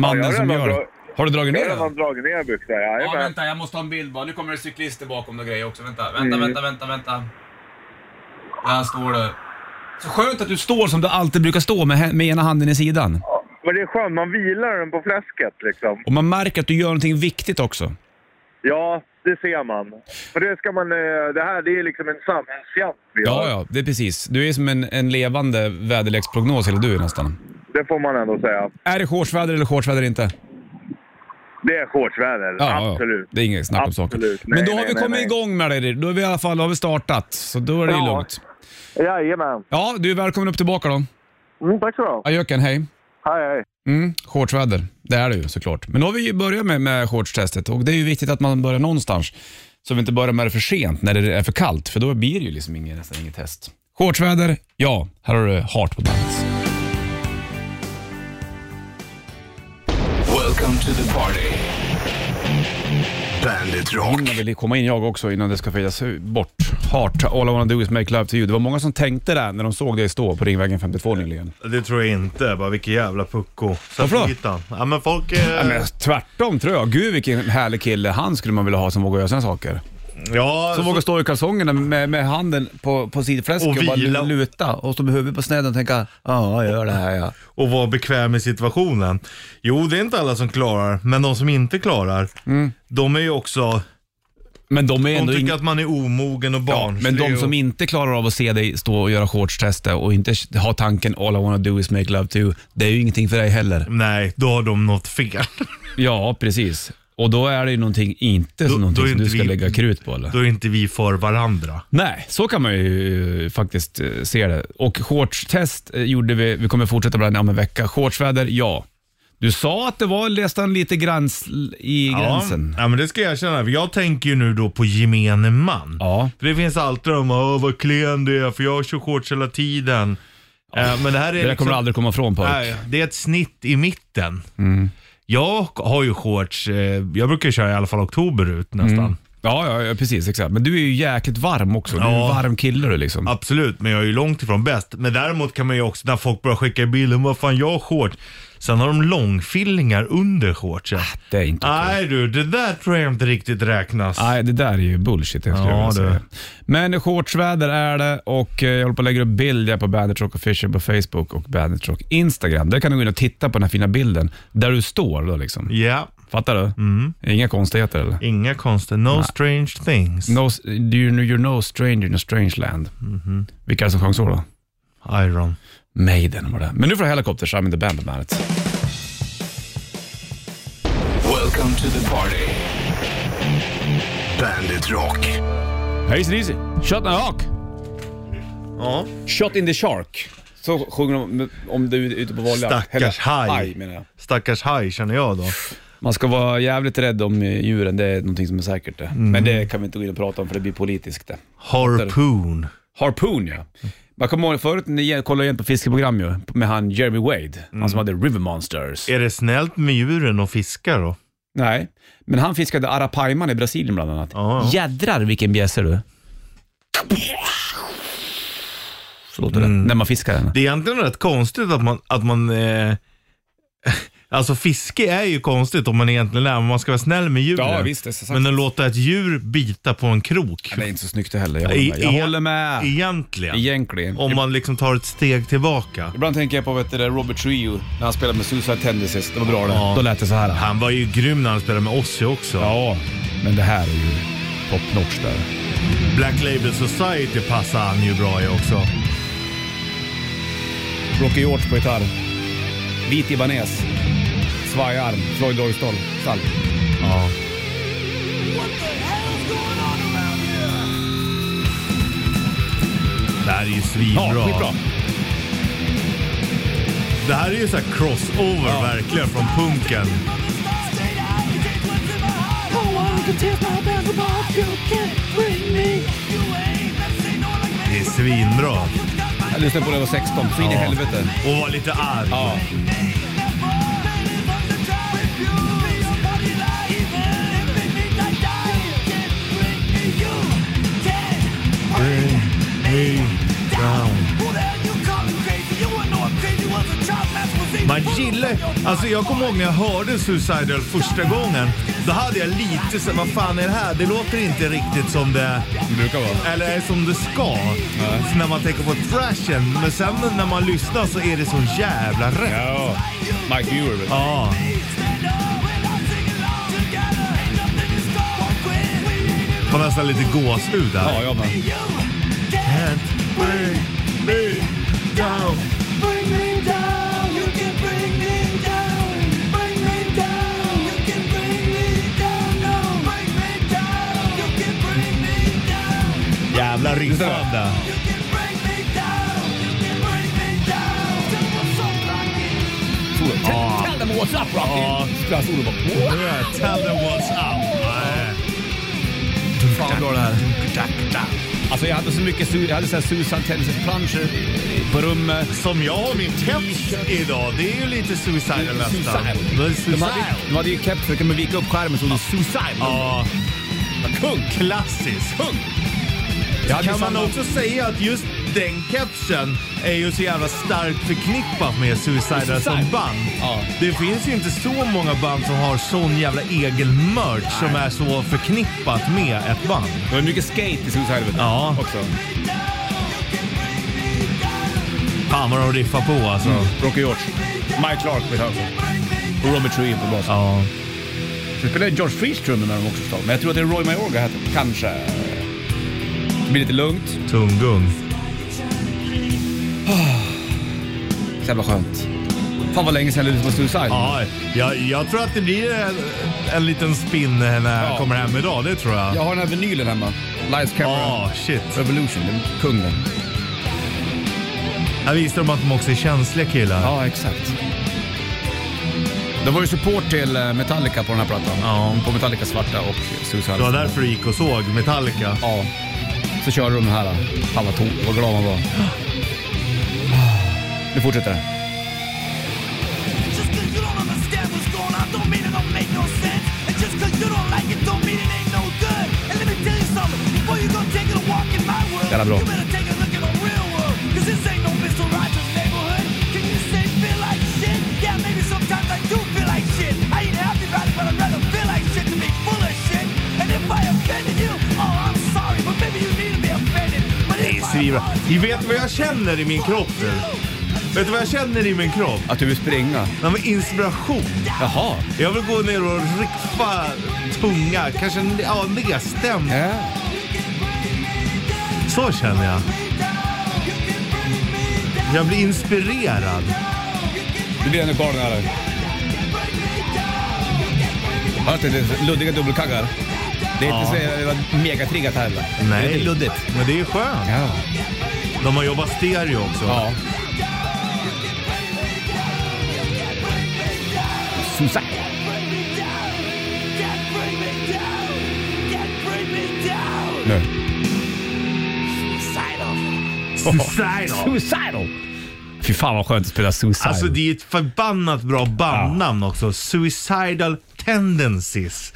Speaker 2: mannen
Speaker 10: Ja, jag har
Speaker 2: som
Speaker 10: redan
Speaker 2: gör det.
Speaker 10: dra-
Speaker 2: Har du dragit
Speaker 10: Jag
Speaker 2: ner
Speaker 10: har redan
Speaker 2: den?
Speaker 10: dragit ner byxorna.
Speaker 2: Ja,
Speaker 10: jajamän.
Speaker 2: vänta, jag måste ha en bild bara. Nu kommer det cyklister bakom och grejer också. Vänta, vänta,
Speaker 10: Mm.
Speaker 2: vänta, vänta, vänta. Där står du. Så skönt att du står som du alltid brukar stå med, hä- med ena handen i sidan.
Speaker 10: Men det är skönt, man vilar den på fläsket liksom.
Speaker 2: Och man märker att du gör någonting viktigt också.
Speaker 10: Ja, det ser man. För det ska man... eh, Det här det är liksom en samhällsjakt vi
Speaker 2: Ja,
Speaker 10: har.
Speaker 2: ja, det är precis. Du är som en, en levande väderleksprognos, eller du är nästan.
Speaker 10: Det får man ändå säga.
Speaker 2: Är det shortsväder eller shortsväder inte?
Speaker 10: Det är shortsväder, absolut.
Speaker 2: Det är inget snack om saken.
Speaker 10: Absolut. Nej,
Speaker 2: Men då har
Speaker 10: nej,
Speaker 2: vi
Speaker 10: nej,
Speaker 2: kommit
Speaker 10: nej.
Speaker 2: igång med det. Då är vi i alla fall, då har vi startat. Så då är det ju
Speaker 10: Ja.
Speaker 2: lugnt.
Speaker 10: Jajamän.
Speaker 2: Ja, du är välkommen upp tillbaka då.
Speaker 10: Mm, tack så du ha.
Speaker 2: Ajöken, hej.
Speaker 10: Hej, hej.
Speaker 2: Mm, shortsväder. Det är det ju såklart. Men då har vi ju börjat med, med shortstestet och det är ju viktigt att man börjar någonstans. Så vi inte börjar med det för sent när det är för kallt, för då blir det ju liksom ingen, nästan inget test. Shortsväder, ja. Här har du Heart på bandet.
Speaker 1: Welcome to the party. Bandit Rock.
Speaker 2: Jag vill komma in jag också innan det ska fejas bort. Heart, all I wanna do is make love to you. Det var många som tänkte det när de såg dig stå på Ringvägen 52 nyligen.
Speaker 3: Det tror jag inte. Bara vilken jävla pucko. Sätt
Speaker 2: Varför då?
Speaker 3: dit han. Ja men folk... Eh, ja,
Speaker 2: Men tvärtom tror jag. Gud vilken härlig kille han skulle man vilja ha som vågar göra sådana saker. Som
Speaker 3: så-
Speaker 2: vågar stå i kalsongerna med, med handen på, på sidfläsken
Speaker 3: Och
Speaker 2: och, bara
Speaker 3: vila.
Speaker 2: luta och stå med huvudet på snedden och tänka ja, jag gör det här ja.
Speaker 3: och vara bekväm i situationen. Jo, det är inte alla som klarar, men de som inte klarar,
Speaker 2: Mm.
Speaker 3: de är ju också...
Speaker 2: Men de är
Speaker 3: De
Speaker 2: ändå
Speaker 3: tycker
Speaker 2: in...
Speaker 3: att man är omogen och
Speaker 2: ja,
Speaker 3: barnslig.
Speaker 2: Men de som
Speaker 3: och...
Speaker 2: inte klarar av att se dig stå och göra shortstester och inte ha tanken all I wanna do is make love to you. Det är ju ingenting för dig heller.
Speaker 3: Nej, då har de
Speaker 2: *laughs*
Speaker 3: något fel.
Speaker 2: Ja, precis. Och då är det ju någonting inte
Speaker 3: Då-
Speaker 2: som någonting
Speaker 3: då är
Speaker 2: som du
Speaker 3: inte
Speaker 2: ska
Speaker 3: vi-
Speaker 2: lägga krut på eller?
Speaker 3: Då är inte vi för varandra.
Speaker 2: Nej, så kan man ju eh, faktiskt eh, se det. Och shortstest eh, gjorde vi, vi kommer fortsätta med det här om en vecka. Shortsväder, ja. Du sa att det var nästan lite gräns i gränsen.
Speaker 3: Ja, ja, men det ska jag erkänna. För Jag tänker ju nu då på gemene man.
Speaker 2: Ja.
Speaker 3: För det finns alltid de, åh vad klen du är för jag kör shorts hela tiden. Eh, men det här är
Speaker 2: Det där
Speaker 3: liksom-
Speaker 2: kommer du aldrig komma ifrån pojk.
Speaker 3: Nej, det är ett snitt i mitten.
Speaker 2: Mm.
Speaker 3: Jag har ju shorts, eh, jag brukar köra i alla fall oktober ut nästan.
Speaker 2: Mm. Ja, ja, ja, precis. Exakt. Men du är ju jäkligt varm också. Du är ju en
Speaker 3: Ja.
Speaker 2: varm kille du liksom.
Speaker 3: Absolut, men jag är ju långt ifrån bäst. Men däremot kan man ju också, när folk börjar skicka bilder, vad fan jag har shorts. Sen har de långfillingar under shortsen.
Speaker 2: Ah, Det är inte okej.
Speaker 3: Nej du, det där tror jag inte riktigt räknas.
Speaker 2: Nej, det där är ju bullshit. Jag skulle
Speaker 3: Ja,
Speaker 2: vilja säga.
Speaker 3: det.
Speaker 2: Men shortsväder är det och eh, jag håller på att lägga upp bilder på Bandit Rock Official på Facebook och Bandit Rock Instagram. Där kan du gå in och titta på den här fina bilden där du står då liksom.
Speaker 3: Ja, Mm.
Speaker 2: Fattar du? Inga konstigheter eller?
Speaker 3: inga konster. No strange things.
Speaker 2: No, do you know you're no stranger in a strange land?
Speaker 3: Mhm.
Speaker 2: Vilka är det som sjöng så då?
Speaker 3: Iron.
Speaker 2: Maiden var det. Men nu får du Helicopters, I'm in the band på bandet.
Speaker 1: Welcome to the party. Bandit Rock.
Speaker 2: Hej Easy. Shot in the hawk.
Speaker 3: Ja.
Speaker 2: Shot in the shark. Så sjunger de om du är ute på Volja.
Speaker 3: Stackars haj.
Speaker 2: Haj menar jag.
Speaker 3: Stackars haj känner jag då.
Speaker 2: Man ska vara jävligt rädd om eh, djuren, det är någonting som är säkert det.
Speaker 3: Mm.
Speaker 2: Men det kan vi inte gå in och prata om för det blir politiskt det.
Speaker 3: Harpoon.
Speaker 2: Harpoon ja. Man kommer ihåg förut när jag kollade igen på fiskeprogram ju, med han Jeremy Wade,
Speaker 3: Mm.
Speaker 2: han som hade River Monsters.
Speaker 3: Är det snällt med djuren och fiskar då?
Speaker 2: Nej, men han fiskade arapaiman i Brasilien bland annat.
Speaker 3: Ja, ja.
Speaker 2: Jädrar vilken bjässe du. Så låter det när man fiskar den.
Speaker 3: Mm. Det är egentligen rätt konstigt att man, att man eh, *laughs* Alltså fiske är ju konstigt om man egentligen är, men man ska vara snäll med djuren.
Speaker 2: Ja, visst, det är så sant.
Speaker 3: men att låta ett djur bita på en krok. E-
Speaker 2: Det är inte så snyggt det heller. Jag håller med. Jag håller med.
Speaker 3: Egentligen.
Speaker 2: Egentligen.
Speaker 3: Om man liksom tar ett steg tillbaka.
Speaker 2: Ibland tänker jag på vet du, det där Robert Trio när han spelade med Suicide Tendencies. Det var bra det.
Speaker 3: Ja.
Speaker 2: Då lät det så här.
Speaker 3: Han var ju grym när han spelade med Ozzy också.
Speaker 2: Ja, men det här är ju top notch där.
Speaker 3: Black Label Society passar han ju bra i också.
Speaker 2: Rocky George på gitarr. Vit Ibanez. Svajarm. Floyd Royston. Salt.
Speaker 3: Ja. Det här är ju
Speaker 2: Ja,
Speaker 3: svinbra.
Speaker 2: skitbra.
Speaker 3: det här är ju så här crossover verkligen från punken. Det är svinbra.
Speaker 2: Jag lyssnade på det när jag var 16. Så in i
Speaker 3: Ja.
Speaker 2: helvete.
Speaker 3: Och var lite arg.
Speaker 2: Ja.
Speaker 3: Man gillar Alltså jag kommer ihåg när jag hörde Suicidal första gången. Då hade jag lite så här, vad fan är det här? Det låter inte riktigt som det...
Speaker 2: Det brukar vara.
Speaker 3: Eller som det ska. Så När man tänker på thrashen. Men sen när man lyssnar så är det så jävla rätt.
Speaker 2: Ja. Mike Ewer. vet du.
Speaker 3: Ja. Får nästan lite gåshud där.
Speaker 2: Ja, jag med.
Speaker 3: Can't bring me down. Jävla riffande. Ja.
Speaker 2: Tell them what's up Rocky!
Speaker 3: Ja.
Speaker 2: Spelar solo bara.
Speaker 3: Nu är Tell them what's up. Nej. Fan bra det här.
Speaker 2: Alltså jag hade så mycket su- jag hade så här Suicide Tendencies plunger på rummet.
Speaker 3: Som jag har min keps idag. Det är ju lite suicidal nästan.
Speaker 2: Suicide.
Speaker 3: Det är
Speaker 2: De
Speaker 3: Suicidal.
Speaker 2: hade, de hade ju keps, så kunde man vika upp skärmen så det stod Suicide.
Speaker 3: Ja.
Speaker 2: Kung!
Speaker 3: Klassisk.
Speaker 2: Kung! Jag hade
Speaker 3: Kan man
Speaker 2: samma-
Speaker 3: också säga att just den kepsen är ju så jävla starkt förknippat med Suicidal
Speaker 2: Suicide.
Speaker 3: som band.
Speaker 2: Ja.
Speaker 3: Det finns ju inte så många band som har sån jävla egen merch som är så förknippat med ett band.
Speaker 2: Det var mycket skate i Suicide vet du.
Speaker 3: Ja.
Speaker 2: Också.
Speaker 3: Fan vad de riffar på alltså.
Speaker 2: Rocky George. Mike Clark vid höger. Och Robert Trujillo på basen.
Speaker 3: Ja.
Speaker 2: Nu spelar ju George Freeze trummor med dem också förstås. Men jag tror att det är Roy Mayorga här. Kanske. Det blir lite lugnt.
Speaker 3: Tunggung.
Speaker 2: Så jävla skönt. Fan vad länge sedan jag lyssnade på Suicide.
Speaker 3: Ja, jag, jag tror att det blir en, en liten spinn när jag
Speaker 2: Ja.
Speaker 3: kommer hem idag. Det tror jag.
Speaker 2: Jag har den här vinylen hemma. Lights Camera
Speaker 3: Ja, shit.
Speaker 2: Revolution. Den är kung den.
Speaker 3: Här visar de att de också är känsliga killar.
Speaker 2: Ja, exakt. Det var ju support till eh, Metallica på den här plattan.
Speaker 3: Ja.
Speaker 2: På Metallica svarta och Suicide.
Speaker 3: Det var därför du gick och såg Metallica.
Speaker 2: Ja. Så körde de den här. Fan vad, tom, vad glad man var. Nu fortsätter det. Jävla bra.
Speaker 3: Det är svinbra. Ni vet vad jag känner i min kropp nu? Vet du vad jag känner i min kropp?
Speaker 2: Att du vill springa?
Speaker 3: Nej, men inspiration.
Speaker 2: Jaha.
Speaker 3: Jag vill gå ner och riffa tunga, kanske n- ja, nedstämd.
Speaker 2: Ja.
Speaker 3: Så känner jag. Jag blir inspirerad.
Speaker 2: Du blir ännu kvar den här. Har du inte det? luddiga dubbelkaggar? Det är inte så jävla megatriggat här eller? Det är lite luddigt.
Speaker 3: men det är skönt.
Speaker 2: Ja.
Speaker 3: De har jobbat stereo också.
Speaker 2: ja. Susa. Nu.
Speaker 3: Suicidal.
Speaker 2: Suicidal! Fy fan vad skönt att spela Suicidal.
Speaker 3: Alltså det är ett förbannat bra bandnamn också. Suicidal Tendencies.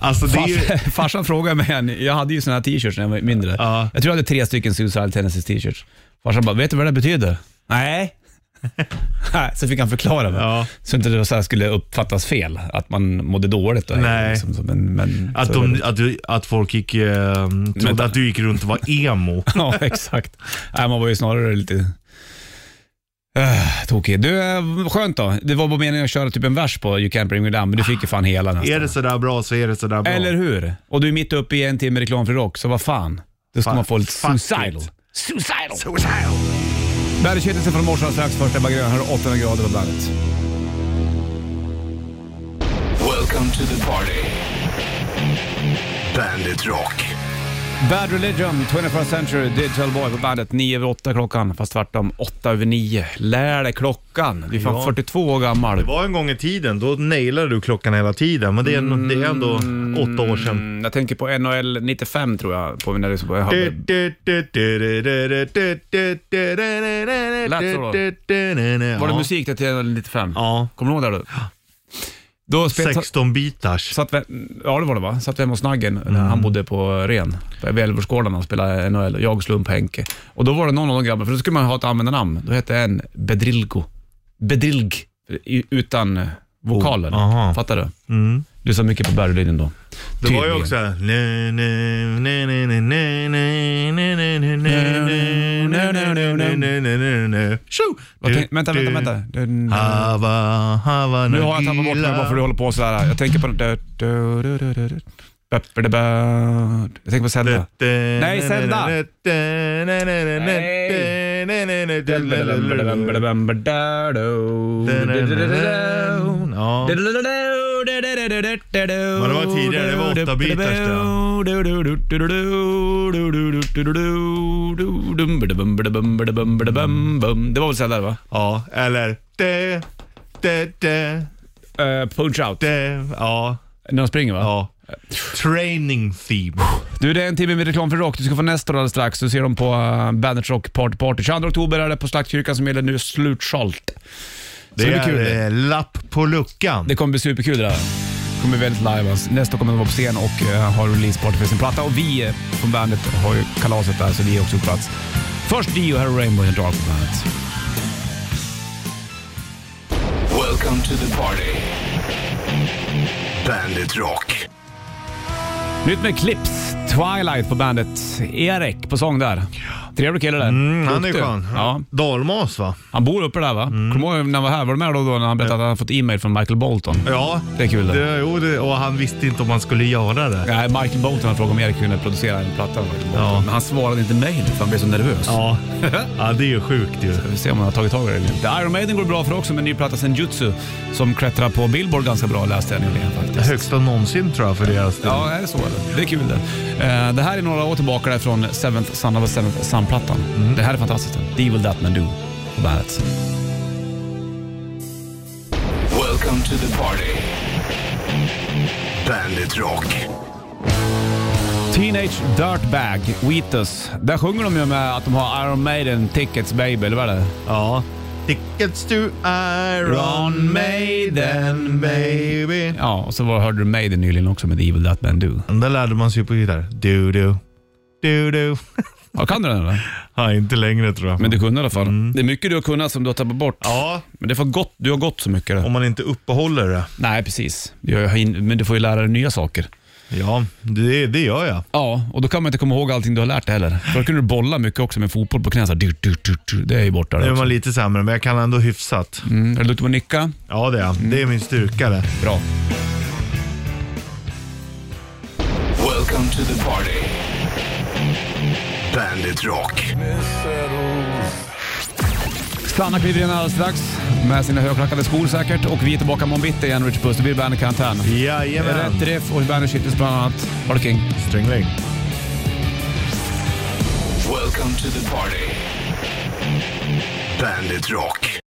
Speaker 3: Alltså det är ju...
Speaker 2: Fars, *laughs* farsan frågade mig, en- jag hade ju såna här t-shirts när jag var mindre.
Speaker 3: Ja. *laughs*
Speaker 2: Jag tror jag hade tre stycken Suicide Tendencies t-shirts. Farsan bara, vet du vad det betyder? Nej. Nej, Så fick han förklara det.
Speaker 3: Ja.
Speaker 2: Så inte det så här skulle uppfattas fel, att man mådde dåligt. Då,
Speaker 3: Nej.
Speaker 2: Liksom, så- men, men,
Speaker 3: Att,
Speaker 2: så är det.
Speaker 3: de, att, du, att folk gick, eh, trodde
Speaker 2: Men-
Speaker 3: att du gick runt och var emo.
Speaker 2: *laughs* Ja, exakt. Nej, man var ju snarare lite uh, tokig. Du, eh, skönt då. Det var bara meningen att köra typ en vers på You Can't Bring Me Down, men du fick ju fan hela nästan.
Speaker 3: är det sådär bra så är det sådär bra.
Speaker 2: Eller hur? Och du är mitt uppe i en timme reklamfri rock, så vad fan. Då ska
Speaker 3: Fan,
Speaker 2: man få lite
Speaker 3: fuck
Speaker 2: suicidal.
Speaker 3: it.
Speaker 2: Suicidal! Suicidal! Väderkittelsen från morse strax. Första Baggrön har 800 grader på bandet.
Speaker 1: Welcome to the party. Bandit Rock.
Speaker 2: Bad Religion, 21st Century Digital Boy på bandet. 9 över 8 klockan, fast tvärtom 8 över 9. Lär dig klockan. Du är fan
Speaker 3: Ja.
Speaker 2: 42 år gammal.
Speaker 3: Det var en gång i tiden, då nailade du klockan hela tiden. Men det är, en- det är ändå åtta år sedan.
Speaker 2: Mm, jag tänker på NHL 95 tror jag, på när det så jag hade... Var det musik där till NHL 95?
Speaker 3: Ja.
Speaker 2: Kommer du ihåg det? Då, då spelade...
Speaker 3: 16 bitars.
Speaker 2: Satt vi, ja det var det va? Satt vi hemma hos Naggen när han bodde på Ren, vid Älvsborgsgården och spelade NHL. Jag, Slump, Henke. Och då var det någon av de grabbarna, för då skulle man ha ett användarnamn. Då hette en Bedrilgo. Bedrilg, i- utan eh, vokalen.
Speaker 3: Oh, aha.
Speaker 2: Fattar du? Lyssnade mycket på Berlin då.
Speaker 3: Det var
Speaker 2: Tydligen.
Speaker 3: ju också... Tjo!
Speaker 2: Vad tänk- Vänta, vänta, vänta. Den-
Speaker 3: Hava, hava,
Speaker 2: Nu har jag tappat bort mig bara för att du håller på sådär. Jag tänker på... Du, du, du, du, du, du. Pepperdebö. Jag tänker på Zelda. Nej, Zelda.
Speaker 3: Ja. Men det var tidigare, det var åtta bitars
Speaker 2: Det var väl Zelda va?
Speaker 3: Ja, eller... De, de, de,
Speaker 2: Eh, punch out.
Speaker 3: de, ja,
Speaker 2: När de springer va?
Speaker 3: ja. Training theme.
Speaker 2: Du, det är en timme med reklam för rock. Du ska få nästa alldeles strax. Du ser dem på uh, Bandit Rock Party Party. 22 oktober är det på Slaktkyrkan som gäller nu slutsålt.
Speaker 3: Det,
Speaker 2: Så det blir kul.
Speaker 3: är eh, lapp på luckan.
Speaker 2: Det kommer bli superkul det där. Det kommer bli väldigt live. Alltså. Nästa kommer de vara på scen och eh, har releaseparty för sin platta. Och vi eh, från bandet har ju kalaset där, så vi är också på plats. Först Dio, här är Rainbow in the Dark på bandet.
Speaker 1: Welcome to the party. Bandit Rock.
Speaker 2: Nytt med Clips, Twilight på bandet. Erik på sång där. Trevlig kille där.
Speaker 3: Mm, han är
Speaker 2: Duktig.
Speaker 3: skön. Mm.
Speaker 2: Ja,
Speaker 3: Dalmas va?
Speaker 2: han bor uppe där va? Kommer du ihåg när han var här? Var du med då, då när han berättade att han hade fått e-mail från Michael Bolton?
Speaker 3: Ja.
Speaker 2: Det är kul det.
Speaker 3: det, jo, det och han visste inte om han skulle göra det.
Speaker 2: Nej, Michael Bolton har frågat om Erik kunde producera en platta av Michael Bolton.
Speaker 3: Ja.
Speaker 2: Men han svarade inte mejl för han blev så nervös. *laughs*
Speaker 3: Ja, ja det är ju sjukt ju.
Speaker 2: Vi får se om han har tagit tag i det eller inte. Iron Maiden går bra för också med en ny platta Senjutsu som klättrar på Billboard ganska bra läste jag nyligen faktiskt.
Speaker 3: Högsta någonsin tror jag för deras del.
Speaker 2: Ja, är det så eller? Det är kul det. Eh, Det här är några år tillbaka där från Seventh Son of a Seventh Son-plattan. Mm. Det här är fantastiskt. The Evil That Man Do på bandet.
Speaker 1: Welcome to the party. Bandit Rock.
Speaker 2: Teenage Dirtbag, Wheatus. Där sjunger de ju med att de har Iron Maiden Tickets Baby, eller vad är det?
Speaker 3: Ja. Tickets to Iron Maiden baby.
Speaker 2: Ja, och så var, hörde du Maiden nyligen också med The Evil That Man Do.
Speaker 3: Den där lärde man sig ju på gitarr. Du-du. *laughs* Du-du.
Speaker 2: Ja, Mm. kan du den eller?
Speaker 3: Ja, inte längre tror jag.
Speaker 2: Men du kunde i alla fall. Det är mycket du har kunnat som du har tappat bort.
Speaker 3: Ja,
Speaker 2: Men det är för gott, du har gått så mycket. Där.
Speaker 3: om man inte uppehåller det.
Speaker 2: Nej, precis. Jag har in- Men du får ju lära dig nya saker.
Speaker 3: Ja, det, det gör jag.
Speaker 2: Ja, och då kan man inte komma ihåg allting du har lärt dig heller. För då kunde du bolla mycket också med fotboll på knä. Så här, du, du, du, du. Det är ju borta.
Speaker 3: Nu
Speaker 2: Det
Speaker 3: är
Speaker 2: också.
Speaker 3: man lite sämre, men jag kan ändå hyfsat.
Speaker 2: Mm. Är du duktig på att nicka?
Speaker 3: Ja, det är jag. Det är min styrka det.
Speaker 2: Bra.
Speaker 1: Welcome to the party. Bandit Rock.
Speaker 2: Sanna kliver in alldeles strax med sina högklackade skor säkert. Och vi är tillbaka imorgon bitti igen, Richard Puss. Det blir Bandet Karantän.
Speaker 3: Jajamän.
Speaker 2: Rätt riff och Bandet Shitlist bland annat. Ha det king.
Speaker 3: Strängling.
Speaker 1: Welcome to the party. Bandit Rock.